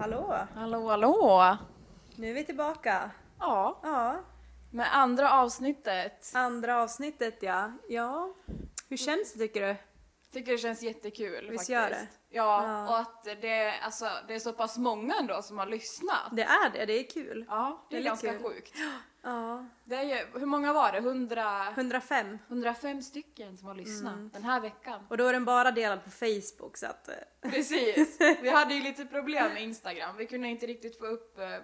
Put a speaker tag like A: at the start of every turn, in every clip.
A: Hallå!
B: Hallå, hallå!
A: Nu är vi tillbaka.
B: Ja,
A: Ja,
B: med andra avsnittet.
A: andra avsnittet ja. Ja, hur känns det tycker du?
B: Tycker det känns jättekul
A: Visst
B: faktiskt.
A: gör det?
B: Ja,
A: Ja.
B: och att det, alltså, det är så pass många ändå som har lyssnat.
A: Det är det, det är kul.
B: Ja, det är,
A: Väldigt
B: ganska
A: kul.
B: sjukt.
A: Ja,
B: Det är ju, hur många var det? 100,
A: 105.
B: 105 stycken som har
A: Mm.
B: lyssnat den här veckan.
A: Och då är den bara delad på Facebook så att... eh,
B: Precis. Vi hade ju lite problem med Instagram. Vi kunde inte riktigt få upp eh,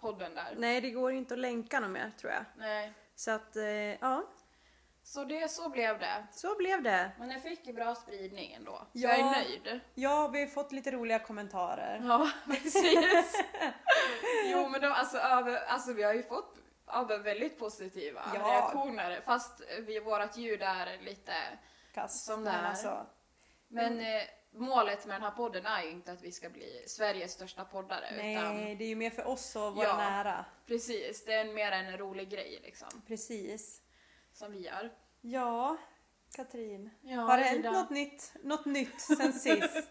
B: podden där.
A: Nej, det går ju inte att länka något mer tror jag.
B: Nej.
A: Så att, eh, ja,
B: Så det, så blev det.
A: så blev det.
B: Men jag fick ju bra spridning ändå. Så
A: Ja.
B: jag är nöjd.
A: Ja, vi har fått lite roliga kommentarer.
B: Ja, precis. jo, men de, alltså, över, alltså vi har ju fått över väldigt positiva
A: Ja.
B: reaktioner fast vi, vårat ljud är lite...
A: Kass.
B: Som det
A: men
B: är.
A: Alltså,
B: Men
A: Mm.
B: eh, målet med den här podden är ju inte att vi ska bli Sveriges största poddare utan
A: nej, det är ju mer för oss och vara
B: Ja.
A: nära.
B: precis, det är en- mer en rolig grej liksom
A: Precis.
B: som vi gör.
A: Ja, Katrin.
B: Ja,
A: har det hänt
B: Ida.
A: något nytt, något nytt sen sist?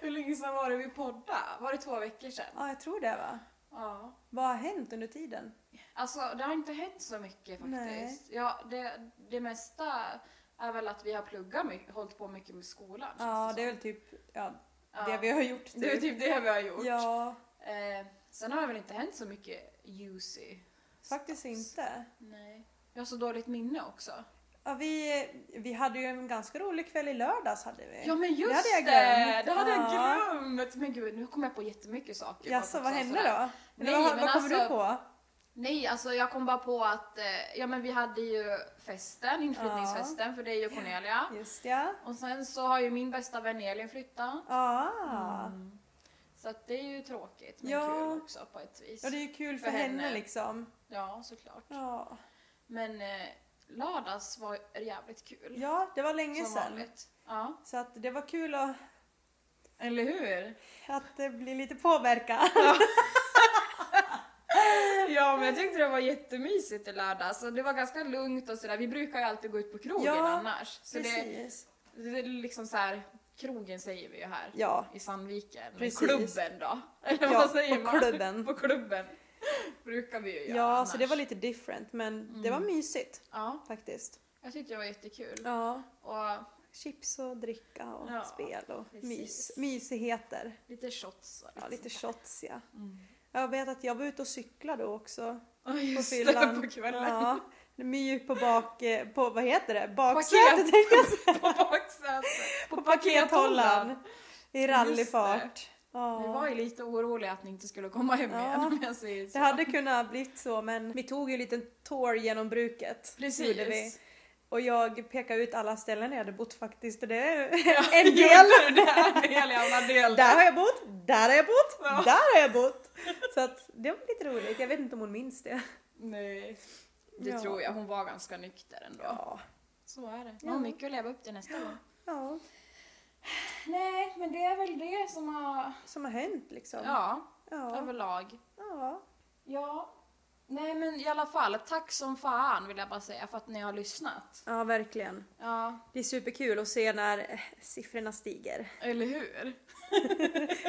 B: Hur länge sedan var det vi poddade? Var det två veckor sedan?
A: Ja, jag tror det va?
B: Ja.
A: Vad har hänt under tiden?
B: Alltså det har inte hänt så mycket faktiskt.
A: Nej.
B: Ja, det, det mesta är väl att vi har pluggat mycket, hållit på mycket med skolan. känns
A: Ja,
B: som.
A: det är väl typ ja,
B: Alltså, Ja.
A: det vi har gjort.
B: Det är
A: typ.
B: typ det vi har gjort.
A: Ja,
B: Eh, sen har det väl inte hänt så mycket juicy.
A: faktiskt inte.
B: Nej. Jag har så dåligt minne också.
A: Ja, vi, vi hade ju en ganska rolig kväll i lördags hade vi.
B: Ja men just det!
A: Eh, hade jag glömt.
B: Det hade jag
A: Ja.
B: glömt! Men gud, nu kommer jag på jättemycket saker.
A: Jaså,
B: bara
A: vad
B: så-
A: hände
B: sådär.
A: då? Eller
B: Nej,
A: vad,
B: men
A: vad kommer
B: alltså-
A: du på?
B: Nej, alltså jag kom bara på att eh, ja, men vi hade ju festen, inflyttningsfesten, för det är ju Cornelia.
A: Just ja.
B: Och sen så har ju min bästa vän Elin flyttat.
A: Ah.
B: Mm. Så att det är ju tråkigt men
A: Ja.
B: kul också på ett vis.
A: Ja, det är ju kul för,
B: För
A: henne.
B: henne.
A: liksom.
B: Ja, såklart.
A: Ja.
B: Men eh, lördags var jävligt kul.
A: ja, det var länge
B: Mm. som
A: sedan.
B: vanligt. Ja.
A: Så att det var kul att,
B: Eller hur?
A: att det blir lite påverkan.
B: Ja, men jag tyckte det var jättemysigt i lördags. Och det var ganska lugnt och sådär. Vi brukar ju alltid gå ut på krogen
A: Ja,
B: annars. Så det,
A: Precis.
B: det är liksom så här, krogen säger vi ju här.
A: Ja,
B: I Sandviken. Men
A: Precis.
B: Klubben då? Eller
A: Ja,
B: vad säger
A: på
B: man?
A: klubben.
B: På klubben. Brukar vi ju
A: ja,
B: göra
A: så
B: annars. Mm.
A: det var lite different men det var mysigt
B: Ja,
A: faktiskt.
B: jag tyckte det var jättekul.
A: Ja.
B: Och
A: Chips och dricka och
B: Ja,
A: spel och mys,
B: precis.
A: mysigheter.
B: Lite shots och
A: Ja, lite
B: sånt
A: shots ja.
B: där. Mm.
A: Jag vet att jag var ute och cyklade då också
B: Ja,
A: på
B: just det,
A: fyllan.
B: på kvällen.
A: Ja, my på bak, eh, på vad heter det? Baksätet
B: Paket.
A: tänkte jag säga.
B: På baksätet.
A: På pakethållaren. I
B: Just
A: rallyfart.
B: Vi var
A: Ja.
B: ju lite oroliga att ni inte skulle komma hem
A: Ja.
B: igen om jag säger så.
A: Det hade kunnat blivit så men vi tog ju en liten tour genom bruket.
B: Precis.
A: gjorde vi. Och jag pekade ut alla ställen jag hade bott faktiskt. och Det är
B: Ja,
A: en del.
B: gjorde du det? En del i alla delar.
A: Där har jag bott, där har jag bott,
B: Ja.
A: där har jag bott. Så att det var lite roligt. Jag vet inte om hon minns det.
B: Nej. Det
A: Ja.
B: tror jag. Hon var ganska nykter ändå.
A: Ja.
B: Så är det.
A: Ja.
B: Hon har mycket att leva upp till nästa gång.
A: ja.
B: Nej, men det är väl det som har...
A: Som har hänt liksom.
B: Ja,
A: Ja.
B: överlag.
A: ja.
B: Ja. Nej, men i alla fall. Tack som fan vill jag bara säga för att ni har lyssnat.
A: Ja, verkligen.
B: Ja,
A: Det är superkul att se när eh, siffrorna stiger.
B: eller hur?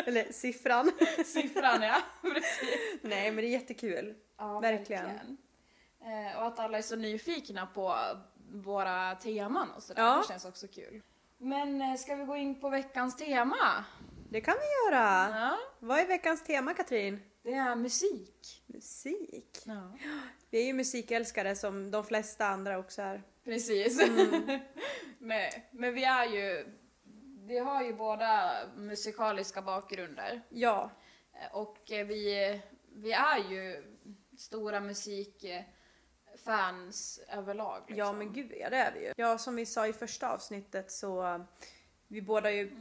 A: Eller siffran.
B: Siffran ja.
A: Nej, men det är jättekul.
B: ja
A: Verkligen.
B: Eh, och att alla är så nyfikna på våra teman och sådär.
A: Ja.
B: Det känns också kul. Men eh, ska vi gå in på veckans tema?
A: Det kan vi göra.
B: Ja.
A: Vad är veckans tema Katrin?
B: Det är musik.
A: Musik.
B: Ja.
A: Vi är ju musikälskare som de flesta andra också är.
B: Precis.
A: Mm.
B: Nej, men vi är ju... Vi har ju båda musikaliska bakgrunder.
A: Ja,
B: Eh, Och eh, vi, vi är ju stora musikfans överlag. Liksom.
A: Ja men gud ja, det är vi ju. Ja som vi sa i första avsnittet så vi båda har ju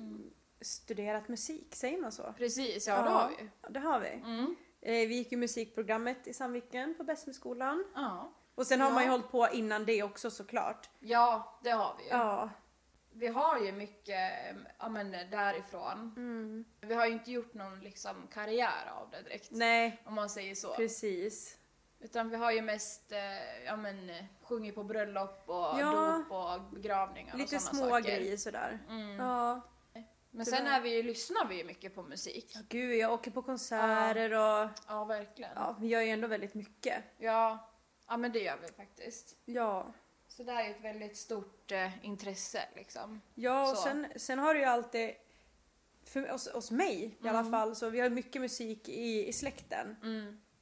A: studerat musik, säger man så?
B: Precis, ja, det har vi.
A: Ja, det har vi.
B: Mm.
A: Eh, Vi gick ju musikprogrammet i Sandviken på Bästmuskolan.
B: Ja.
A: Och sen har
B: Ja.
A: man ju hållit på innan det också såklart.
B: ja, det har vi ju.
A: Ja.
B: Vi har ju mycket ja, men, därifrån.
A: Mm.
B: Vi har ju inte gjort någon liksom, karriär av det direkt,
A: Nej,
B: om man säger så.
A: precis.
B: Utan vi har ju mest eh, ja, men, sjungit på bröllop och
A: Ja.
B: dop och begravningar
A: Lite
B: och
A: små Mm.
B: sådana saker.
A: grejer sådär.
B: Mm.
A: Ja.
B: Men
A: Tyvärr.
B: sen är vi, ju- lyssnar vi ju mycket på musik.
A: Ja, gud, jag åker på konserter och
B: Ja, verkligen.
A: ja, vi gör ju ändå väldigt mycket.
B: Ja, ja men det gör vi faktiskt.
A: Ja.
B: Så det är ju ett väldigt stort eh, intresse liksom.
A: Ja, och
B: Så.
A: sen, sen har det ju alltid, för oss, oss mig i alla
B: Mm.
A: fall, så vi har mycket musik i, i släkten.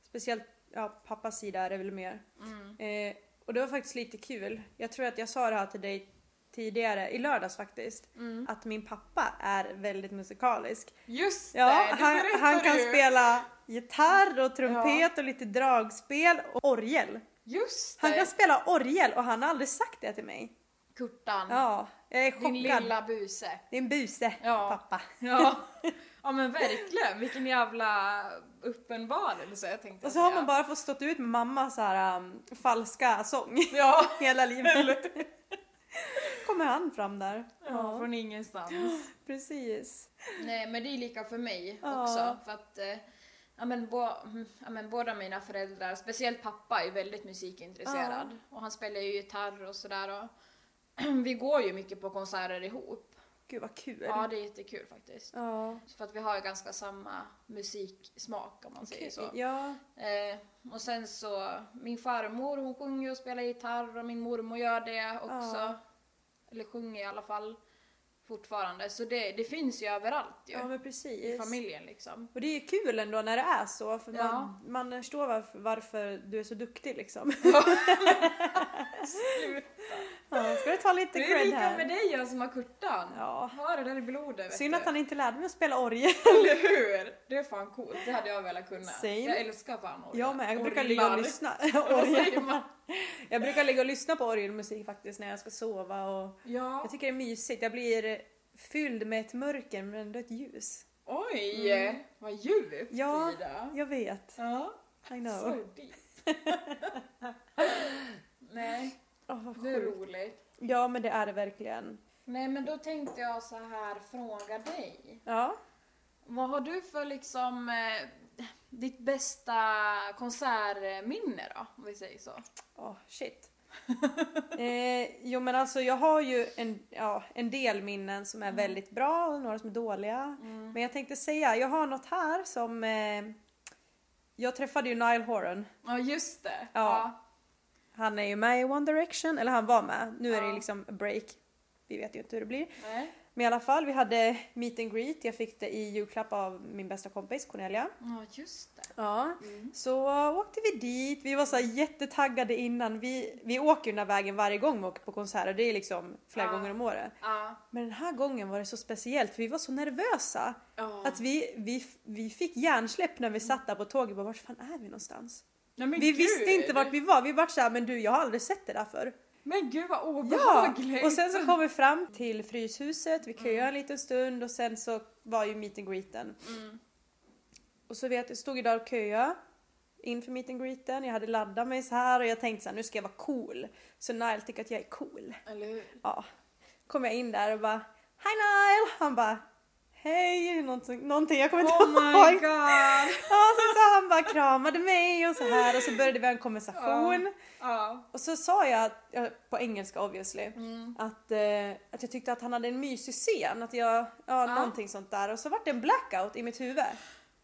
A: Speciellt ja, pappas sida är det väl mer.
B: Mm.
A: Eh, och det var faktiskt lite kul. Jag tror att jag sa det här till dig tidigare, i lördags faktiskt,
B: Mm.
A: att min pappa är väldigt musikalisk.
B: Just
A: Ja,
B: det, det
A: han,
B: berättar
A: han kan
B: du.
A: spela gitarr och trumpet och lite dragspel och orgel.
B: Just
A: Han
B: det.
A: kan spela orgel och han har aldrig sagt det till mig.
B: Kurtan,
A: Ja, jag är
B: din
A: chockad.
B: lilla buse.
A: Det är en buse,
B: Ja.
A: pappa.
B: Ja. ja men verkligen, vilken jävla uppenbarelse jag tänkte
A: Och så har man bara fått stått ut med mamma så här um, falska sång
B: Ja,
A: hela livet. Kommer han fram där.
B: ja. från ingenstans.
A: precis.
B: Nej men det är lika för mig
A: Ja.
B: också. För att, eh, ja, men bo, mm, ja, men båda mina föräldrar, speciellt pappa, är väldigt musikintresserad. Och han spelar ju gitarr och sådär. Och vi går ju mycket på konserter ihop.
A: Gud vad kul.
B: Ja, det är jättekul faktiskt.
A: Ja.
B: För att vi har ju ganska samma musiksmak om man säger så.
A: Ja.
B: Eh, och sen så, min farmor hon sjunger och spelar gitarr och min mormor gör det också.
A: Ja.
B: Eller sjunger i alla fall fortfarande. Så det, det finns ju överallt ju.
A: ja, men
B: I
A: precis.
B: familjen liksom.
A: Och det är ju kul ändå när det är så för
B: Ja.
A: man, man förstår varför, varför du är så duktig liksom. Ja, ska du ta lite
B: Det är
A: cred
B: lika
A: här?
B: med dig jag som har kurtan.
A: Ja.
B: Har det där i blodet vet
A: Synd
B: du.
A: att han inte lärde mig att spela orgel.
B: Eller hur? Det är fan coolt, det hade jag velat kunna.
A: Same.
B: Jag älskar fan orgel.
A: Ja, men jag brukar ligga och
B: Orglar.
A: lyssna.
B: Vad
A: orgel.
B: säger man?
A: Jag brukar ligga och lyssna på orgelmusik faktiskt när jag ska sova och
B: Ja.
A: Jag tycker det är mysigt. Jag blir fylld med ett mörker men ändå ett ljus.
B: Oj, vad djupt
A: Ja.
B: Ida.
A: Jag vet.
B: Ja.
A: I
B: Så
A: know.
B: deep. Nej,
A: Åh, vad
B: det är
A: sjukt.
B: roligt.
A: Ja men det är det verkligen.
B: Nej, men då tänkte jag så här fråga dig.
A: Ja.
B: Vad har du för liksom eh, ditt bästa konsertminne då? Om vi säger så.
A: Åh shit. eh, jo men alltså jag har ju en, ja, en del minnen som är väldigt bra och några som är dåliga.
B: Mm.
A: Men jag tänkte säga, jag har något här som... Eh, jag träffade ju Nile Horan.
B: Ja, just det.
A: Ja. Han är ju med i One Direction, eller han var med. Nu är det
B: Ja.
A: ju liksom a break. Vi vet ju inte hur det blir.
B: Ja. Nej.
A: Men i alla fall, vi hade meet and greet. Jag fick det i julklapp av min bästa kompis Cornelia.
B: Ja, just det.
A: Ja.
B: Mm.
A: Så åkte vi dit. Vi var så här jättetaggade innan. Vi, vi åker ju den här vägen varje gång vi åker på konserter. Det är liksom flera
B: Ja.
A: gånger om året.
B: Ja.
A: Men den här gången var det så speciellt för vi var så nervösa.
B: Ja.
A: Att vi, vi, vi fick hjärnsläpp när vi satt där på tåget. Bara, vart fan är vi någonstans?
B: Nej, men
A: vi
B: gud.
A: visste inte vart vi var. Vi var så här, men du jag har aldrig sett det där förr.
B: Men gud vad
A: Ja!
B: obehagligt.
A: Och sen så kom vi fram till Fryshuset, vi köade en liten stund och sen så var ju meet and greeten.
B: Mm.
A: Och så vet jag, stod jag där och köade inför meet and greeten, jag hade laddat mig så här och jag tänkte så här, nu ska jag vara cool. Så Nile tycker att jag är cool.
B: Eller hur?
A: Ja. Kom jag in där och bara Hi Nile! Han bara Hej! Någonting, någonting jag kommer inte
B: Oh my
A: ihåg.
B: god.
A: Ja, sen så han bara kramade mig och så här och så började vi ha en konversation.
B: Ja.
A: Och så sa jag, ja, på engelska obviously,
B: Mm.
A: att, eh, att jag tyckte att han hade en mysig scen, att jag, ja
B: Ja.
A: någonting sånt där. Och så vart det en blackout i mitt huvud.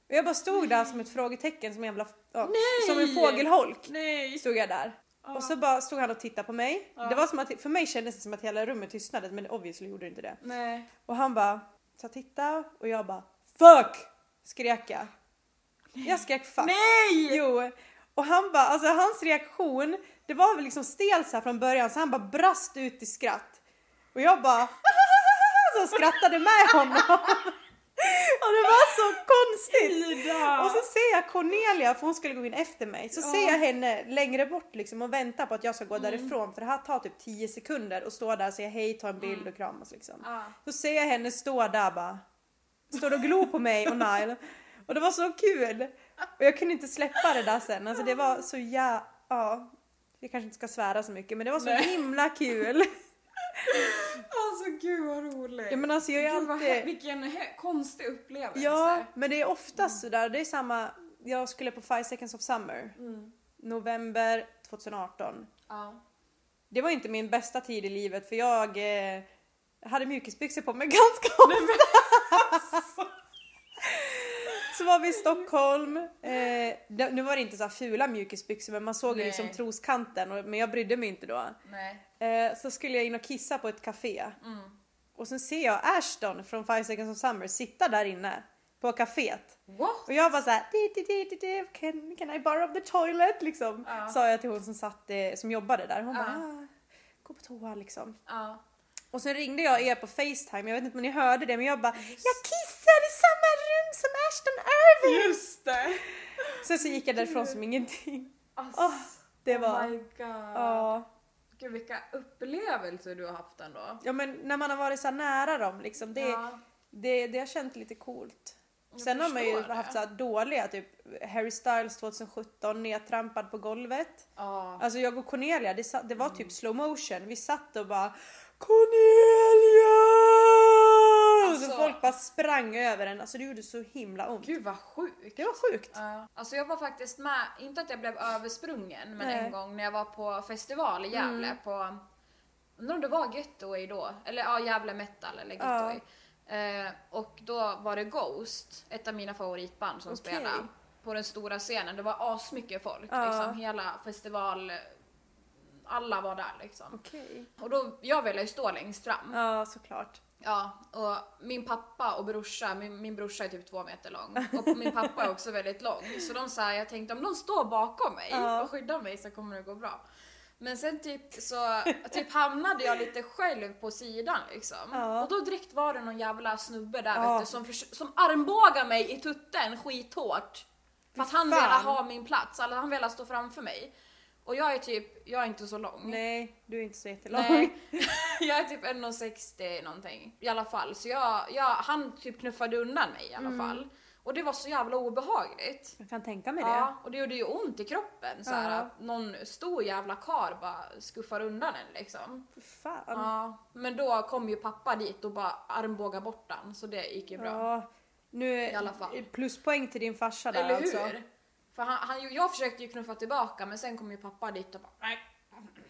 A: Och jag bara stod där som ett frågetecken, som en jävla, ja,
B: Nej!
A: som en fågelholk.
B: Nej.
A: Stod jag där. Och så bara stod han och tittade på mig.
B: Ja.
A: Det var som att, för mig kändes det som att hela rummet tystnade men obviously gjorde det inte det.
B: Nej.
A: Och han bara, så titta och jag bara FUCK! Skrek jag. Jag skrek fuck.
B: Nej!
A: Jo. Och han bara, alltså hans reaktion, det var väl liksom stel så här från början så han bara brast ut i skratt. Och jag bara så skrattade med honom. Och det var så konstigt.
B: Ida!
A: Och så ser jag Cornelia, för hon skulle gå in efter mig, så
B: Ja. Mm.
A: ser jag henne längre bort liksom och väntar på att jag ska gå därifrån för det här tar typ 10 sekunder och stå där och säga hej, ta en
B: Mm.
A: bild och kramas liksom.
B: Ja.
A: Då ser jag henne stå där bara. Står och glor på mig och Nile. Och det var så kul. Och jag kunde inte släppa det där sen. Alltså det var så jä... Ja. Vi kanske inte ska svära så mycket men det var så
B: Nej.
A: himla kul.
B: Alltså gud vad roligt.
A: Ja, men alltså jag är
B: gud, vad hä-
A: alltid...
B: vilken hä- konstig upplevelse.
A: Ja, men det är oftast sådär. Det är samma... Jag skulle på Five Seconds of Summer.
B: Mm.
A: November 2018.
B: Ja.
A: Det var inte min bästa tid i livet för jag eh, hade mjukisbyxor på mig ganska ofta. Så var vi i Stockholm. Eh, det- nu var det inte så här fula mjukisbyxor men man såg ju
B: Nej.
A: liksom troskanten och, men jag brydde mig inte då.
B: Nej.
A: Eh, så skulle jag in och kissa på ett café. Och sen ser jag Ashton från Five Seconds of Summer sitta där inne på caféet.
B: What?
A: Och jag bara såhär, di, di, di, di, di, can, can I borrow the toilet? Liksom.
B: Ja.
A: Sa jag till hon som, satt, eh, som jobbade där. Hon
B: Ja.
A: bara, ah, gå på toa liksom.
B: Ja.
A: Och sen ringde jag er på Facetime, jag vet inte om ni hörde det men jag bara Jag kissar i samma rum som Ashton Irving!
B: Just det!
A: Sen så gick jag därifrån som ingenting.
B: Ass,
A: Åh, det var...
B: Oh my god.
A: ja.
B: Gud vilka upplevelser du har haft ändå.
A: ja men när man har varit så här nära dem liksom, det,
B: Ja.
A: det, det har känt lite coolt.
B: Jag
A: Sen har man ju
B: förstår det.
A: haft så här dåliga, typ Harry Styles 2017, nedtrampad på golvet.
B: Ja. Mm.
A: Alltså jag och Cornelia, det, sa- det var typ slow motion. Vi satt och bara Cornelia!
B: Alltså-
A: Så folk bara sprang över en. Alltså det gjorde så himla ont.
B: Gud vad sjukt.
A: Det var sjukt.
B: Ja. Alltså jag var faktiskt med, inte att jag blev översprungen, men
A: Nej. Mm.
B: en gång när jag var på festival i Gävle på, undrar om det var Getaway då, eller ja Gävle metal eller Getaway. Eh, och då var det Ghost, ett av mina favoritband som
A: Okej.
B: spelade på den stora scenen. Det var asmycket folk,
A: Ja.
B: liksom hela festival, alla var där liksom.
A: Okej.
B: Och då, jag ville ju stå längst fram.
A: Ja, såklart.
B: Ja, och min pappa och brorsa, min, min brorsa är typ två meter lång och min pappa är också väldigt lång. Så de sa, jag tänkte om de står bakom mig
A: Ja.
B: och skyddar mig så kommer det gå bra. Men sen typ så typ hamnade jag lite själv på sidan liksom.
A: Ja.
B: Och då direkt var det någon jävla snubbe där
A: Ja.
B: vet du, som, förs- som armbågar mig i tutten skithårt. För att han
A: Fy fan.
B: ville ha min plats, eller han ville stå framför mig. Och jag är typ, jag är inte så lång.
A: Nej, du är inte så jättelång.
B: Nej, jag är typ 1,60 någonting i alla fall. Så jag, jag, han typ knuffade undan mig i alla
A: Mm.
B: fall. Och det var så jävla obehagligt.
A: Jag kan tänka mig det.
B: Ja, och det gjorde ju ont i kroppen så här,
A: Ja.
B: att någon stor jävla kar bara skuffar undan en liksom.
A: Fy Fan.
B: Ja, men då kom ju pappa dit och bara armbågade bort den så det gick ju bra.
A: Ja, Nu eh,
B: I alla fall.
A: pluspoäng till din farsa där
B: Eller hur?
A: alltså.
B: För han, han, jag försökte ju knuffa tillbaka men sen kom ju pappa dit och bara nej.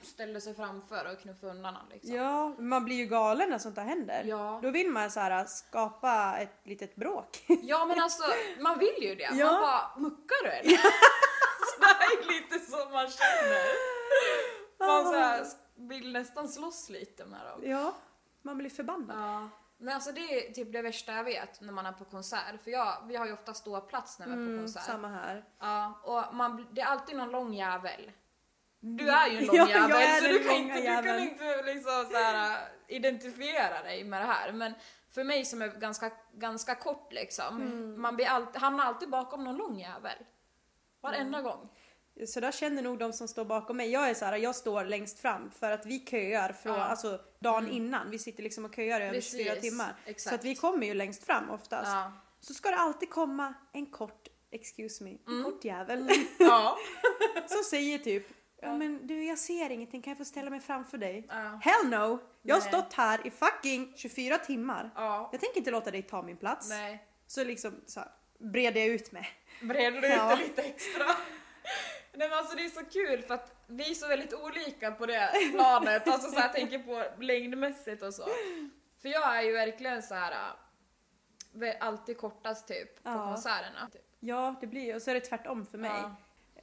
B: Ställde sig framför och knuffade undan honom liksom.
A: Ja, man blir ju galen när sånt där händer.
B: Ja.
A: Då vill man så här skapa ett litet bråk.
B: Ja men alltså man vill ju det.
A: Ja.
B: Man bara muckar du eller? så det här är lite så man känner. Man så här vill nästan slåss lite med dem.
A: Ah. ja, man blir förbannad.
B: Ja. Men alltså det är typ det värsta jag vet när man är på konsert. För jag, vi har ju ofta ståplats när vi är på
A: Mm,
B: konsert.
A: samma här.
B: Ja, och man, bl- det är alltid någon lång jävel. Du är ju en lång
A: Mm. Ja, jag
B: jävel
A: är
B: så
A: den
B: du kan,
A: långa
B: inte, du kan
A: jäveln.
B: inte liksom så här, äh, identifiera dig med det här. Men för mig som är ganska, ganska kort liksom,
A: Mm.
B: man blir allt, hamnar alltid bakom någon lång jävel. Varenda
A: Mm.
B: gång.
A: Så där känner nog de som står bakom mig. Jag är så här, jag står längst fram för att vi köar från,
B: Ja. Mm.
A: alltså dagen innan. Vi sitter liksom och köar i över
B: Precis,
A: 24 timmar. Så
B: exakt.
A: att vi kommer ju längst fram oftast.
B: Ja.
A: Så ska det alltid komma en kort, excuse me, en
B: Mm.
A: kort jävel.
B: ja.
A: som säger typ, ja men du jag ser ingenting, kan jag få ställa mig framför dig?
B: Ja.
A: Hell no! Jag har
B: Nej.
A: stått här i fucking 24 timmar.
B: ja.
A: Jag tänker inte låta dig ta min plats.
B: Nej.
A: Så liksom så här, breder jag ut mig.
B: Breder du ut
A: Ja.
B: det lite extra? Nej men alltså det är så kul för att vi är så väldigt olika på det planet, alltså så här, jag tänker på längdmässigt och så. För jag är ju verkligen så här äh, vä- alltid kortast typ på
A: Ja.
B: konserterna. Typ.
A: Ja, det blir och så är det tvärtom för mig.
B: Ja.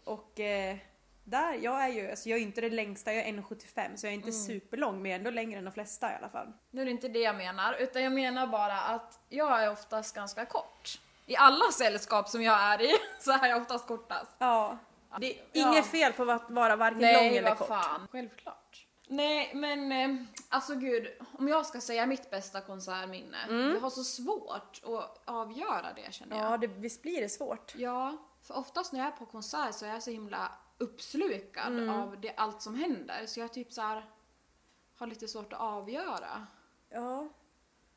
A: Och eh, där, jag är ju, alltså jag är inte den längsta, jag är 1,75 så jag är
B: Mm.
A: inte superlång men jag är ändå längre än de flesta i alla fall.
B: Nu är det inte det jag menar, utan jag menar bara att jag är oftast ganska kort. I alla sällskap som jag är i så är jag oftast kortast.
A: Ja. Det är inget fel på att vara varken lång
B: Nej,
A: eller
B: vad
A: kort.
B: fan. Självklart. Nej, men eh, alltså gud, om jag ska säga mitt bästa konsertminne. Jag har så svårt att avgöra det känner jag.
A: Ja, det, visst blir det svårt.
B: Ja, för oftast när jag är på konsert så är jag så himla uppslukad av det, allt som händer. Så jag typ så här har lite svårt att avgöra.
A: Ja.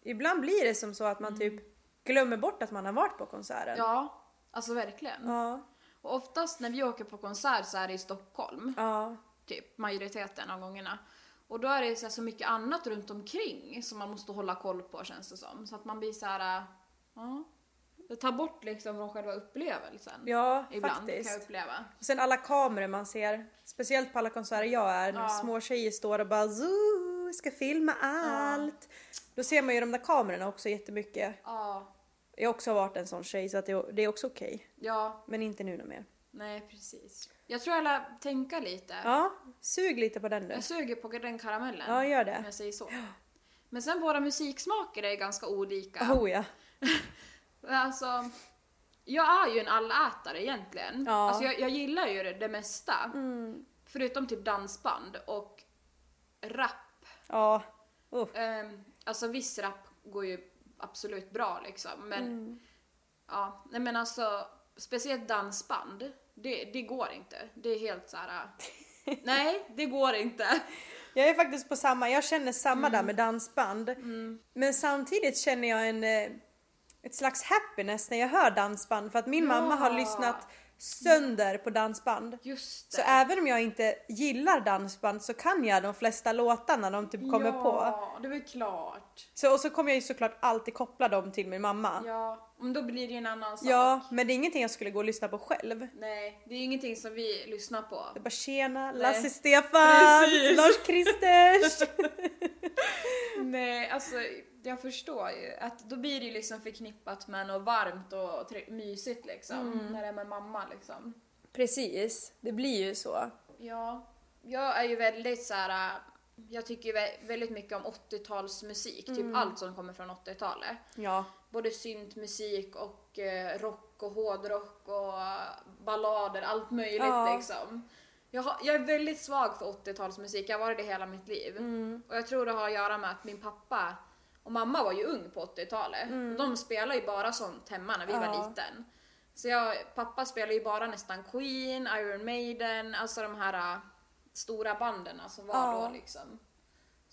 A: Ibland blir det som så att man typ glömmer bort att man har varit på konserten.
B: Mm. Ja, alltså verkligen.
A: Ja.
B: Och oftast när vi åker på konsert så är det i Stockholm.
A: Ja.
B: typ majoriteten av gångerna. Och då är det så, här, så mycket annat runt omkring som man måste hålla koll på känns det som. Så att man blir så här, äh, ja. Det tar bort liksom från själva upplevelsen.
A: Ja,
B: ibland kan jag
A: faktiskt.
B: uppleva.
A: Och sen alla kameror man ser, speciellt på alla konserter jag är, när
B: Ja.
A: små tjejer står och bara zoo, woohoo, ska filma allt. Då ser man ju de där kamerorna också jättemycket.
B: Ja,
A: Jag har också varit en sån tjej så att det, det är också okej.
B: ja,
A: Men inte nu något mer.
B: nej precis. Jag tror jag lär tänka lite.
A: Ja, sug lite på den nu.
B: Jag suger på den karamellen.
A: Ja, gör
B: Om
A: det.
B: jag säger så. Men sen våra musiksmaker är ganska olika.
A: Oh ja.
B: Alltså, jag är ju en allätare egentligen.
A: Ja.
B: Alltså, jag, jag gillar ju det, det mesta.
A: Mm.
B: Förutom typ dansband och rap.
A: Ja. Oh. Uff.
B: Ehm, alltså viss rap går ju absolut bra liksom. Men,
A: Mm.
B: ja, nej, men alltså, speciellt dansband. Det, det går inte. Det är helt såhär... nej, det går inte.
A: Jag är faktiskt på samma, jag känner samma
B: Mm.
A: där med dansband. Men samtidigt känner jag en, eh, ett slags happiness när jag hör dansband för att min
B: Ja.
A: mamma har lyssnat sönder på dansband.
B: Just det.
A: Så även om jag inte gillar dansband så kan jag de flesta låtarna de typ kommer
B: ja,
A: på.
B: det är väl klart.
A: Så, och så kommer jag ju såklart alltid koppla dem till min mamma. Ja,
B: Ja, men då blir det ju en annan sak.
A: men det är ingenting jag skulle gå och lyssna på själv.
B: Nej, det är ju ingenting som vi lyssnar på.
A: Det är bara tjena, Lasse Stefan,
B: Precis.
A: Lars-Kristers.
B: Nej, alltså jag förstår ju att då blir det ju liksom förknippat med något varmt och tre- mysigt liksom. När det är med mamma liksom.
A: Precis, det blir ju så.
B: Ja, jag är ju väldigt så här. äh, Jag tycker ju vä- väldigt mycket om 80-talsmusik, typ allt som kommer från 80-talet.
A: Ja,
B: Både syntmusik och eh, rock och hårdrock och eh, ballader, allt möjligt
A: Ja.
B: liksom. Jag, har, jag är väldigt svag för 80-talsmusik, jag har varit det hela mitt liv.
A: Mm.
B: Och jag tror det har att göra med att min pappa och mamma var ju ung på 80-talet. De spelade ju bara sånt hemma när vi
A: Mm. Ja.
B: var liten. Så jag, pappa spelade ju bara nästan Queen, Iron Maiden, alltså de här äh, stora banden som var
A: Ja.
B: då liksom.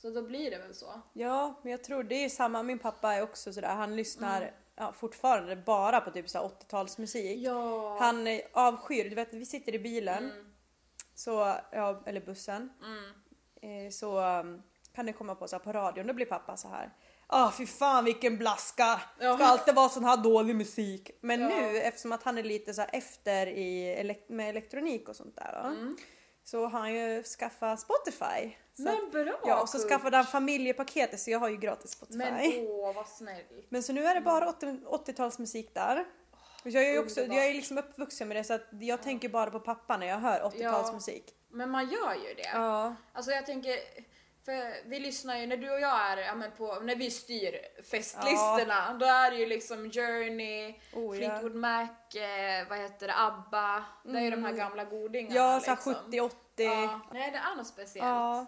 B: Så då blir det väl så.
A: Ja, men jag tror det är samma. Min pappa är också sådär, han lyssnar ja, fortfarande bara på typ så här 80-talsmusik.
B: Ja. Mm.
A: Han är avskyr, du vet vi sitter i bilen, så, ja, eller bussen,
B: Mm.
A: eh, så um, kan det komma på så här på radion, då blir pappa så här. Ah fy fan vilken blaska! Ska
B: Ja.
A: alltid vara sån här dålig musik. Men
B: Ja.
A: nu eftersom att han är lite så här efter i, elek- med elektronik och sånt där då,
B: Mm.
A: så har han ju skaffat Spotify. Så att-
B: Men bra
A: Ja, och så
B: Kurt.
A: skaffade han familjepaketet så jag har ju gratis Spotify.
B: Men
A: Men,
B: åh vad snällt.
A: så nu är det bara
B: Mm.
A: 80- 80-talsmusik där. Och Jag är ju också,
B: Underbart.
A: jag är liksom uppvuxen med det så att jag tänker bara på pappa när jag hör 80-talsmusik.
B: Men man gör ju det.
A: Ja.
B: Alltså jag tänker, för vi lyssnar ju när du och jag är, ja, men på, när vi styr festlistorna, då är det ju liksom Journey,
A: Oh, ja.
B: Fleetwood Mac, eh, vad heter det, ABBA. Det är ju de här gamla godingarna.
A: Mm. Ja, såhär
B: liksom.
A: 70-80.
B: Ja. Nej, det är något speciellt.
A: Ja.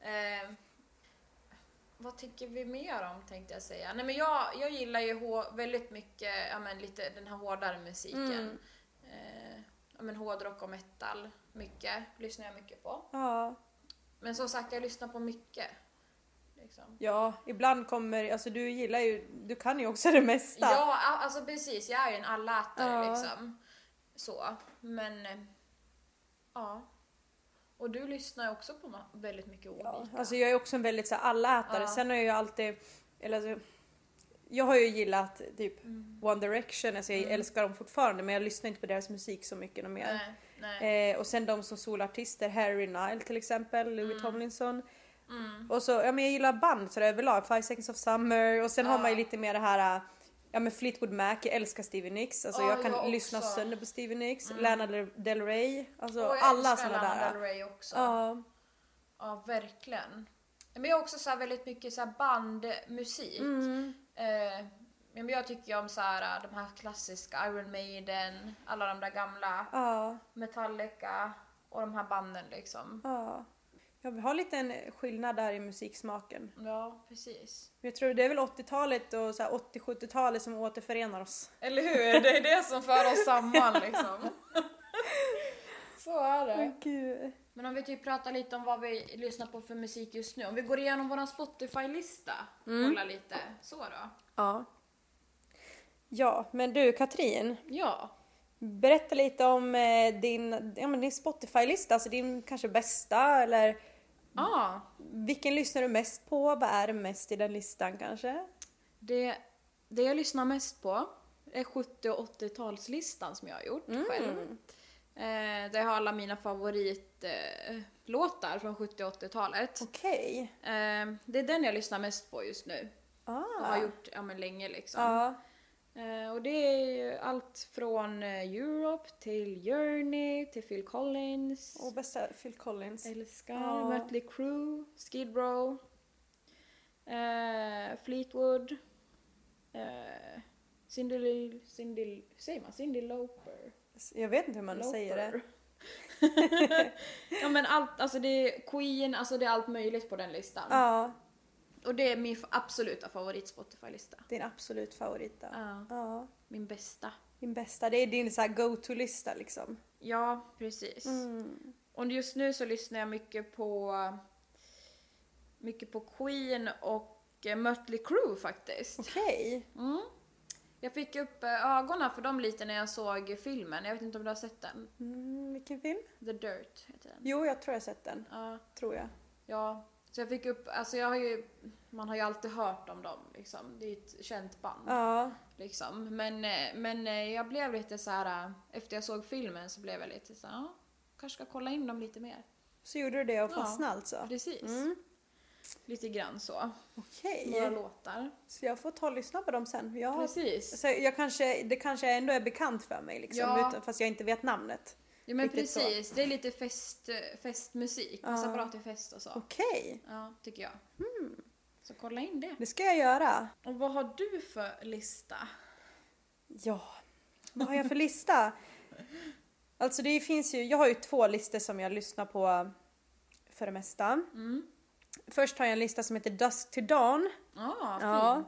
B: Eh, vad tycker vi mer om tänkte jag säga. Nej, men jag, jag gillar ju hå- väldigt mycket ja, men lite den här hårdare musiken.
A: Mm.
B: Eh, ja, men hårdrock och metal. Mycket. Lyssnar jag mycket på.
A: Ja.
B: Men som sagt, jag lyssnar på mycket. Liksom.
A: ja, ibland kommer, alltså du gillar ju, du kan ju också det mesta.
B: Ja, a- alltså precis. Jag är ju en allätare
A: Ja.
B: liksom. Så. Men, eh, ja. Och du lyssnar ju också på ma- väldigt mycket olika.
A: Ja, alltså jag är också en väldigt så här, allätare.
B: Ja.
A: Sen har jag ju alltid, eller alltså, jag har ju gillat typ
B: Mm.
A: One Direction, alltså jag älskar dem fortfarande men jag lyssnar inte på deras musik så mycket något mer.
B: nej, nej.
A: Eh, och sen de som solartister, Harry Nile till exempel,
B: Mm.
A: Louis Tomlinson. Och så, ja men jag gillar band sådär överlag, Five Seconds of Summer och sen har
B: Ja.
A: man ju lite mer det här äh, Ja men Fleetwood Mac, jag älskar Stevie Nicks. Alltså
B: Ja,
A: jag kan
B: jag
A: lyssna
B: också.
A: sönder på Stevie Nicks, Lana Del- Del Rey, alltså
B: Och jag
A: alla
B: älskar
A: såna
B: Lana
A: där.
B: Del Rey också.
A: Ja.
B: Ja, verkligen. Men jag har också så här väldigt mycket så här bandmusik.
A: Mm.
B: Eh, men jag tycker ju om så här, äh, de här klassiska Iron Maiden, alla de där gamla
A: Ja.
B: Metallica och de här banden liksom.
A: Ja. Ja, vi har lite en skillnad där i musiksmaken.
B: Ja, precis.
A: Men Jag tror det är väl 80-talet och så här 80-70-talet som återförenar oss.
B: Eller hur? Det är det som för oss samman liksom. Så är det.
A: gud.
B: Men om vi typ pratar lite om vad vi lyssnar på för musik just nu. Om vi går igenom våran Spotify-lista. Kolla lite. Så då.
A: Ja. Ja, men du Katrin,
B: Ja.
A: berätta lite om eh, din, ja, men din Spotify-lista, alltså din kanske bästa eller
B: Ah.
A: vilken lyssnar du mest på? Vad är det mest i den listan kanske?
B: Det, det jag lyssnar mest på är 70 och Mm.
A: Mm,
B: 80-talslistan som jag har gjort själv. Eh, där jag har alla mina favoritband eh, låtar från 70 och 80-talet.
A: Okej.
B: Eh, det är den jag lyssnar mest på just nu. Och
A: Ah.
B: har gjort ja, men länge liksom.
A: Ja.
B: Eh, och det är ju allt från eh, Europe till Journey till Phil Collins.
A: Och bästa Phil Collins.
B: Älskar
A: Ja.
B: Mötley Crüe, Skid Row, eh, Fleetwood, eh, Cindy, Lou- Cindy, säger man Cindy Lauper?
A: Jag vet inte hur man säger det.
B: ja men allt, alltså det är Queen, alltså det är allt möjligt på den listan.
A: Ja,
B: Och det är min f- absoluta favorit Spotify-lista.
A: din absolut favorit då.
B: Ja,
A: Ja.
B: min bästa.
A: Din bästa, det är din så här go-to-lista liksom.
B: Ja, precis.
A: Mm.
B: Och just nu så lyssnar jag mycket på mycket på Queen och eh, Mötley Crüe faktiskt.
A: Okej.
B: Mm. Jag fick upp eh, ögonen för dem lite när jag såg filmen. Jag vet inte om du har sett den?
A: Mm, vilken film?
B: The Dirt heter den.
A: Jo, jag tror jag har sett den.
B: Ja,
A: Tror jag.
B: ja. Så jag fick upp, alltså jag har ju, man har ju alltid hört om dem liksom. Det är ju ett känt band.
A: Ja.
B: Liksom. Men, eh, men eh, jag blev lite så här. eh, efter jag såg filmen så blev jag lite så här, ja, kanske ska kolla in dem lite mer.
A: Så gjorde du det och
B: Ja.
A: fastnade alltså?
B: Precis.
A: Mm.
B: Lite grann så.
A: Okej.
B: Några låtar.
A: Så jag får ta och lyssna på dem sen. Jag, har-
B: Precis.
A: så jag kanske, det kanske ändå är bekant för mig liksom,
B: Ja.
A: utan, fast jag inte vet namnet.
B: Ja men
A: Riktigt så.
B: precis, det är lite fest, eh, festmusik.
A: Ja.
B: Massa bra till fest och så.
A: Okej,
B: Ja, tycker jag.
A: Hmm.
B: Så kolla in det.
A: det ska jag göra.
B: Och vad har du för lista?
A: Ja, vad har jag för lista? Alltså det finns ju, jag har ju två listor som jag lyssnar på för det mesta.
B: Mm.
A: Först har jag en lista som heter Dusk to Dawn.
B: Ah,
A: Ja.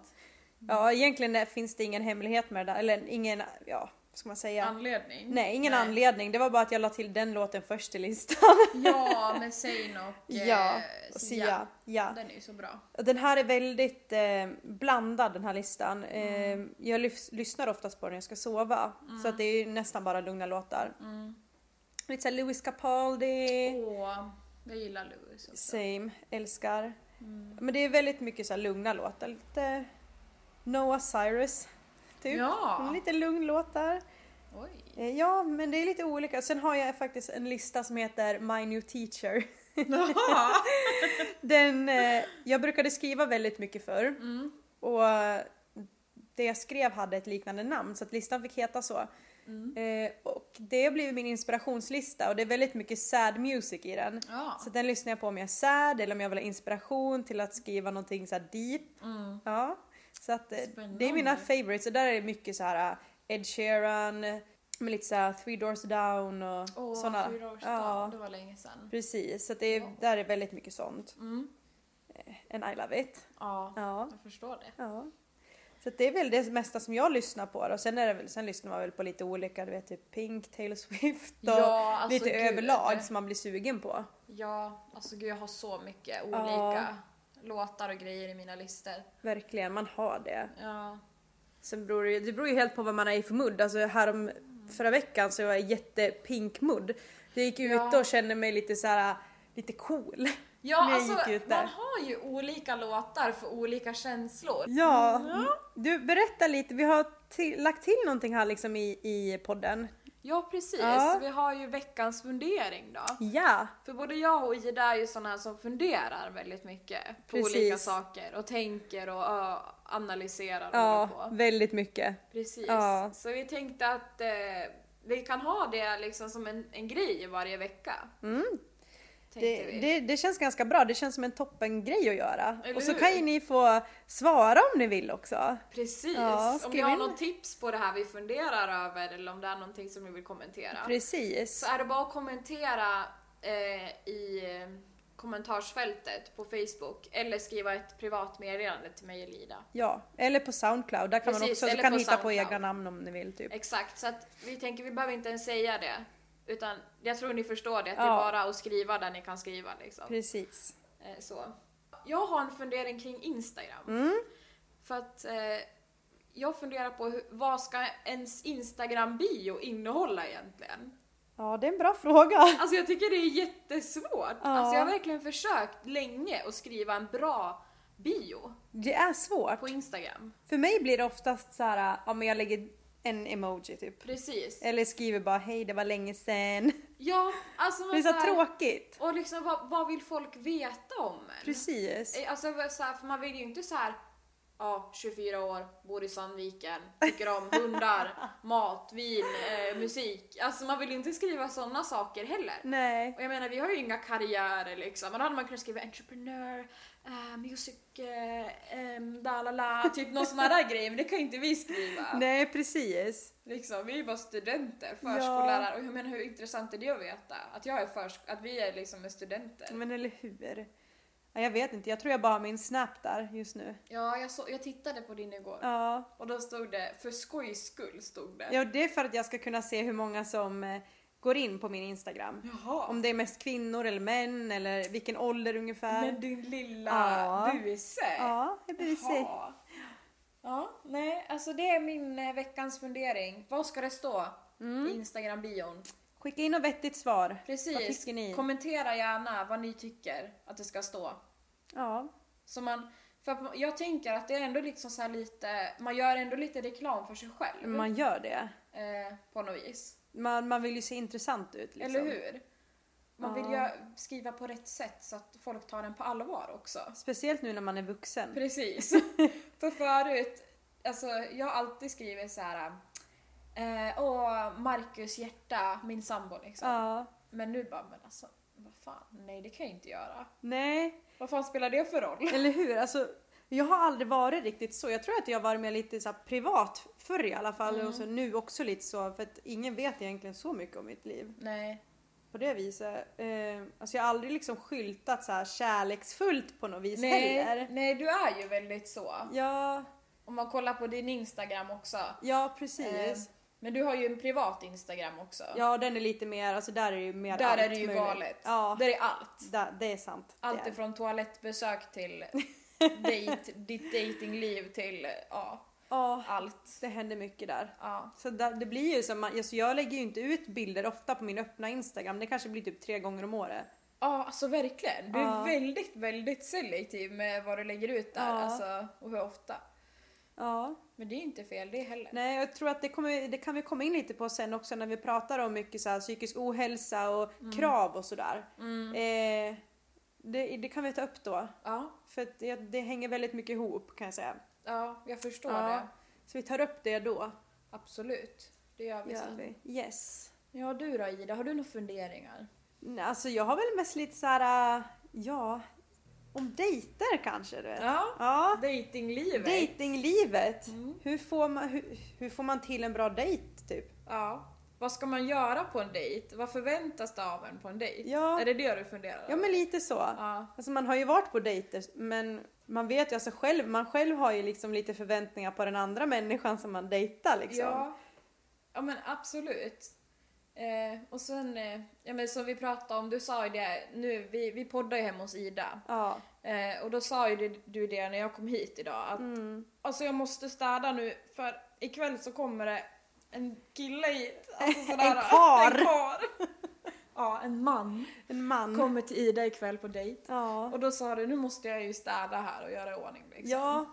B: fint.
A: Ja, egentligen är- finns det ingen hemlighet med det där, eller ingen, ja, vad ska man säga?
B: Anledning?
A: Nej, ingen anledning. Det var bara att jag la till den låten först i listan.
B: Ja, med Zayn och eh,
A: ja, och
B: Sia.
A: Sia. Ja.
B: Den är ju så bra.
A: Och Den här är väldigt eh, blandad den här listan.
B: Mm.
A: Eh, jag lys- lyssnar oftast på den när jag ska sova. Så att det är ju nästan bara lugna låtar.
B: Mm. Oh.
A: Lite såhär Louis Capaldi.
B: Åh, jag gillar Louis också. Mm.
A: Same, älskar. Men det är väldigt mycket så här lugna låtar. Lite Noah Cyrus, typ.
B: Ja.
A: En lite lugn låt där.
B: Oj.
A: Eh, Ja, men det är lite olika. Sen har jag faktiskt en lista som heter My New Teacher.
B: Ja.
A: Den, eh, jag brukade skriva väldigt mycket förr.
B: Mm.
A: Och eh, det jag skrev hade ett liknande namn så att listan fick heta så.
B: Mm.
A: Eh, och det har blivit min inspirationslista och det är väldigt mycket sad music i den.
B: Ja.
A: Så den lyssnar jag på om jag är sad eller om jag vill ha inspiration till att skriva någonting så här deep.
B: Mm.
A: Ja. Så att eh,
B: Spännande.
A: det är mina favorites och där är det mycket så här eh, Ed Sheeran, eh, med lite så här Three Doors Down och
B: Åh,
A: sådana.
B: fyra års
A: Ja.
B: dag. Det var länge sedan.
A: Precis, så att det är,
B: Wow.
A: där är väldigt mycket sånt.
B: Mm.
A: And I love it.
B: Ja,
A: Ja.
B: jag förstår det.
A: Ja. Så att det är väl det mesta som jag lyssnar på då. Sen, är det väl, sen lyssnar man väl på lite olika, du vet typ Pink, Taylor Swift och
B: ja, alltså
A: lite
B: gud.
A: överlag som man blir sugen på.
B: Ja, alltså gud jag har så mycket olika
A: Ja.
B: låtar och grejer i mina listor.
A: Verkligen, man har det.
B: Ja.
A: Sen beror det, ju- det beror ju helt på vad man är i för mood. Alltså härom förra veckan så var jag jätte pink mood. Jag gick ut
B: Ja.
A: och kände mig lite så här lite cool.
B: Ja,
A: Men jag
B: alltså
A: gick ut där.
B: man har ju olika låtar för olika känslor.
A: Ja, du berätta lite. Vi har till, lagt till någonting här liksom i, i podden.
B: Ja, precis.
A: Ja.
B: Vi har ju veckans fundering då.
A: Ja,
B: För både jag och Ida är ju sådana som funderar väldigt mycket på
A: Precis.
B: olika saker och tänker och ö, analyserar och håller
A: ja,
B: på.
A: väldigt mycket.
B: Precis.
A: Ja.
B: Så vi tänkte att eh, vi kan ha det liksom som en, en grej varje vecka.
A: Mm.
B: tänkte
A: Det,
B: vi.
A: det, det känns ganska bra, det känns som en toppen grej att göra.
B: Eller
A: och så
B: hur?
A: kan ju ni få svara om ni vill också.
B: Precis!
A: Ja,
B: om ni
A: skriv
B: har
A: in.
B: något tips på det här vi funderar över eller om det är någonting som ni vill kommentera.
A: Precis.
B: Så är det bara att kommentera eh, i kommentarsfältet på Facebook eller skriva ett privat meddelande till mig eller Ida.
A: Ja, eller på Soundcloud, där kan man
B: Precis,
A: också, så
B: eller
A: kan
B: på
A: ni hitta på
B: Soundcloud.
A: egna namn om ni vill typ.
B: Exakt, så att vi tänker vi behöver inte ens säga det. Utan jag tror ni förstår det, att det
A: Ja.
B: är bara att skriva där ni kan skriva liksom.
A: Precis.
B: Eh, så. Jag har en fundering kring Instagram.
A: Mm.
B: För att eh, jag funderar på hur, vad ska ens Instagram-bio innehålla egentligen?
A: Ja, det är en bra fråga.
B: Alltså jag tycker det är jättesvårt.
A: Ja.
B: Alltså jag har verkligen försökt länge att skriva en bra bio
A: Det är svårt.
B: på Instagram.
A: För mig blir det oftast så här, ja men jag lägger en emoji typ.
B: Precis.
A: Eller skriver bara hej det var länge sen.
B: Ja, alltså men
A: Det är så
B: så här-
A: tråkigt.
B: Och liksom vad, vad vill folk veta om en?
A: Precis.
B: Eh, Alltså så här, för man vill ju inte så här ja, 24 år, bor i Sandviken, tycker om hundar, mat, vin, eh, musik. Alltså man vill ju inte skriva sådana saker heller.
A: Nej.
B: Och jag menar vi har ju inga karriärer liksom. Men då hade man kunnat skriva entreprenör, eh, music, eh, em, da la la, typ någon sån här grej. Men det kan ju inte vi skriva.
A: Nej precis.
B: Liksom, vi är ju bara studenter, förskollärare. Och jag menar hur intressant är det att veta? Att, jag är försk- att vi är liksom studenter.
A: Men eller hur. Ja, jag vet inte, jag tror jag bara har min snap där just nu.
B: Ja, jag, så, jag tittade på din igår.
A: Ja.
B: Och då stod det, för skojs skull stod det.
A: Ja, det är för att jag ska kunna se hur många som eh, går in på min Instagram.
B: Jaha.
A: Om det är mest kvinnor eller män eller vilken ålder ungefär.
B: Med din lilla
A: Ja.
B: buse.
A: Ja, det blir sig.
B: Jaha. Ja, nej, alltså det är min eh, veckans fundering. Vad ska det stå i Instagram-bion?
A: Skicka in något vettigt svar. Mm. Vad
B: Precis.
A: tycker ni?
B: Kommentera gärna vad ni tycker att det ska stå.
A: Ja.
B: Så man, för att jag tänker att det är ändå liksom så här lite, man gör ändå lite reklam för sig själv.
A: Man gör det.
B: Eh, på något vis.
A: Man, man vill ju se intressant ut liksom.
B: Eller hur? Man vill
A: Ja.
B: ju skriva på rätt sätt så att folk tar den på allvar också.
A: Mm. Speciellt nu när man är vuxen.
B: Precis. För förut, alltså jag har alltid skrivit så här. Eh, åh, Marcus hjärta, min sambo liksom.
A: Ja.
B: Men nu bara, men alltså vad fan, nej det kan jag inte göra.
A: Nej,
B: Vad fan spelar det för roll?
A: eller hur? Alltså, jag har aldrig varit riktigt så. Jag tror att jag har varit mer lite så här privat förr i alla fall
B: Mm.
A: och så nu också lite så för att ingen vet egentligen så mycket om mitt liv.
B: Nej.
A: på det viset. Eh, alltså jag har aldrig liksom skyltat så här kärleksfullt på något vis
B: Nej,
A: heller.
B: nej, du är ju väldigt så.
A: Ja,
B: Om man kollar på din Instagram också.
A: ja
B: Eh,
A: precis.
B: men du har ju en privat Instagram också.
A: ja den är lite mer, alltså där är det ju mer
B: Där
A: allt
B: är det ju
A: möjligt.
B: galet.
A: Ja,
B: Där är allt.
A: där, det är sant.
B: Allt
A: det är.
B: ifrån toalettbesök till dejt, ditt datingliv till ja,
A: Ja,
B: allt.
A: det händer mycket där.
B: Ja.
A: Så där, det blir ju som, alltså jag lägger ju inte ut bilder ofta på min öppna Instagram. Det kanske blir typ tre gånger om året.
B: ja, alltså verkligen. Du är
A: Ja.
B: väldigt, väldigt selektiv med vad du lägger ut där
A: Ja.
B: alltså, och hur ofta.
A: Ja,
B: Men det är inte fel det heller.
A: nej jag tror att det, kommer, det kan vi komma in lite på sen också när vi pratar om mycket så här, psykisk ohälsa och
B: Mm.
A: krav och sådär. Eh, det, det kan vi ta upp då.
B: Ja,
A: För att det, det hänger väldigt mycket ihop kan jag säga.
B: ja, jag förstår
A: Ja.
B: det.
A: Så vi tar upp det då.
B: Absolut. Det gör vi
A: Gör
B: sen.
A: vi. Yes.
B: Ja, du då Ida, har du några funderingar?
A: Nej, Alltså jag har väl mest lite så här, äh, ja, om dejter kanske du vet.
B: Ja,
A: Ja.
B: dejtinglivet.
A: Dejtinglivet.
B: Mm.
A: Hur, får man, hur, hur får man till en bra dejt typ?
B: Ja. Vad ska man göra på en dejt? Vad förväntas det av en på en dejt?
A: Ja.
B: Är det det du funderar
A: Ja men lite så.
B: Ja.
A: Alltså man har ju varit på dejter men man vet ju alltså själv, man själv har ju liksom lite förväntningar på den andra människan som man dejtar liksom.
B: Ja, ja men absolut. Eh, och sen, eh, ja, men som vi pratade om, du sa ju det, nu, vi, vi poddar ju hemma hos Ida.
A: Ja.
B: Eh, och då sa ju du- du det när jag kom hit idag, att
A: Mm.
B: alltså, jag måste städa nu för ikväll så kommer det en kille hit. Alltså, sådär,
A: En karl.
B: En karl. ja, en man
A: En man.
B: kommer till Ida ikväll på dejt.
A: Ja.
B: Och då sa du, nu måste jag ju städa här och göra i ordning liksom.
A: Ja,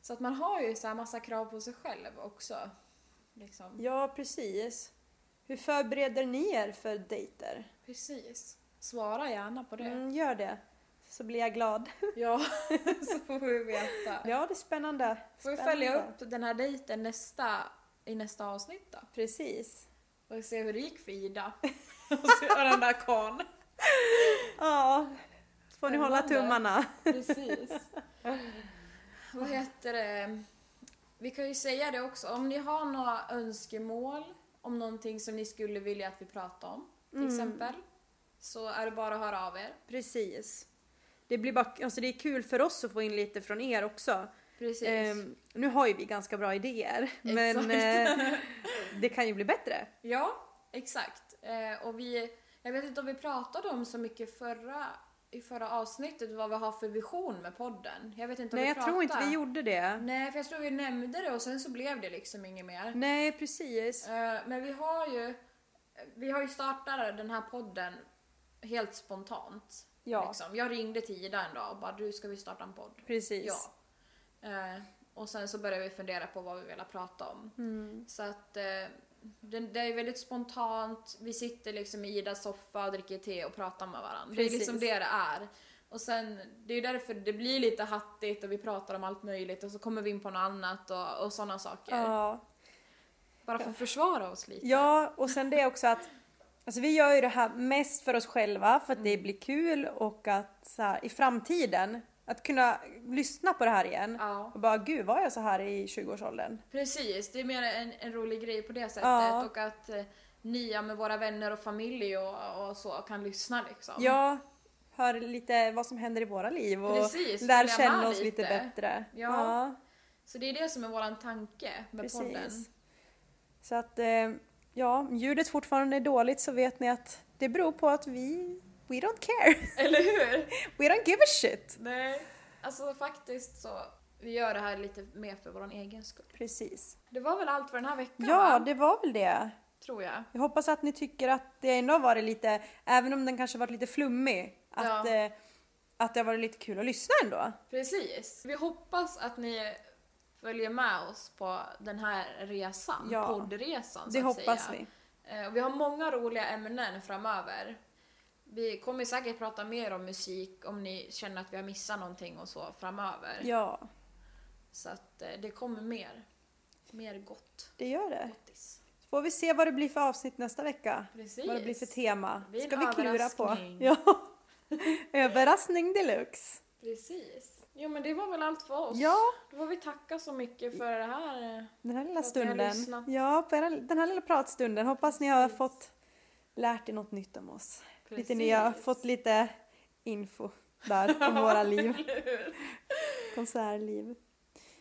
B: Så att man har ju så här massa krav på sig själv också. Liksom.
A: Ja, precis. Hur förbereder ni er för dejter?
B: Precis. Svara gärna på det.
A: Mm, gör det, så blir jag glad.
B: Ja, så får vi veta.
A: Ja, det är spännande.
B: Får vi
A: Spännande.
B: följa upp den här dejten nästa, i nästa avsnitt då?
A: Precis.
B: Och se hur det gick för Ida. Och se och den där karln.
A: Ja, får ni hålla
B: Spännande.
A: tummarna. Mm,
B: Precis. Vad heter det? Vi kan ju säga det också, om ni har några önskemål om någonting som ni skulle vilja att vi pratar om, till
A: Mm.
B: exempel, så är det bara att höra av er.
A: Precis. Det, blir bara, alltså det är kul för oss att få in lite från er också.
B: Precis.
A: Ehm, nu har ju vi ganska bra idéer, men eh, det kan ju bli bättre.
B: Ja, exakt. Eh, och vi, jag vet inte om vi pratade om så mycket förra, i förra avsnittet vad vi har för vision med podden. Jag vet inte om
A: Nej,
B: vi
A: jag tror inte
B: pratade.
A: vi gjorde det.
B: Nej, för jag tror vi nämnde det och sen så blev det liksom inget mer.
A: Nej, precis.
B: Eh, men vi har ju vi har ju startat den här podden helt spontant.
A: Ja.
B: Liksom. Jag ringde till Ida en dag och bara du ska vi starta en podd?
A: Precis.
B: Ja. Eh, Och sen så började vi fundera på vad vi ville prata om.
A: Mm.
B: Så att eh, det, det är väldigt spontant. Vi sitter liksom i Idas soffa och dricker te och pratar med varandra. Det är
A: Precis.
B: liksom det det är. Och sen, det är ju därför det blir lite hattigt och vi pratar om allt möjligt och så kommer vi in på något annat och, och sådana saker.
A: Ja.
B: Bara för att försvara oss lite.
A: Ja, och sen det också att alltså vi gör ju det här mest för oss själva för att det
B: Mm.
A: blir kul och att så här, i framtiden att kunna lyssna på det här igen
B: Ja.
A: och bara gud var jag så här i 20-årsåldern?
B: Precis, det är mer en, en rolig grej på det sättet
A: Ja.
B: och att eh, ni ja, med våra vänner och familj och, och så kan lyssna liksom.
A: Ja, hör lite vad som händer i våra liv och
B: Precis,
A: lär
B: följa
A: känna
B: med
A: oss lite,
B: lite.
A: bättre.
B: Ja, Så det är det som är våran tanke med podden.
A: precis. Så att eh, ja, om ljudet fortfarande är dåligt så vet ni att det beror på att vi we don't care.
B: Eller hur?
A: We don't give a shit.
B: Nej. Alltså faktiskt så, vi gör det här lite mer för vår egen skull.
A: Precis.
B: Det var väl allt för den här veckan
A: Ja,
B: va?
A: det var väl det.
B: tror jag.
A: Jag hoppas att ni tycker att det ändå har varit lite, även om den kanske varit lite flummig, att,
B: Ja.
A: eh, att det har varit lite kul att lyssna ändå.
B: Precis. Vi hoppas att ni följer med oss på den här resan,
A: Ja.
B: poddresan så
A: det
B: att
A: hoppas
B: säga.
A: vi.
B: Eh, och Vi har många roliga ämnen framöver. Vi kommer säkert prata mer om musik om ni känner att vi har missat någonting och så framöver.
A: Ja,
B: Så att eh, det kommer mer. Mer gott.
A: det gör det.
B: Gottis.
A: Så får vi se vad det blir för avsnitt nästa vecka.
B: Precis.
A: Vad det blir för tema.
B: Det blir en
A: Ska vi klura på.
B: överraskning.
A: Ja. överraskning deluxe.
B: Precis. Jo men det var väl allt för oss.
A: Ja.
B: Då får vi tacka så mycket för det här. eh,
A: Den här lilla
B: För att ni har
A: stunden.
B: lyssnat.
A: Ja, på era- den här lilla pratstunden. Hoppas ni har
B: Precis.
A: fått lärt er något nytt om oss. Lite
B: Precis.
A: nya, fått lite info där om våra liv,
B: Eller hur?
A: konsertliv.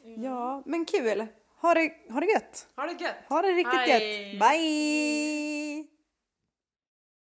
A: Ja, men kul. Ha det, ha det gött.
B: Ha det gött!
A: Ha det riktigt
B: Hej.
A: gött. Bye!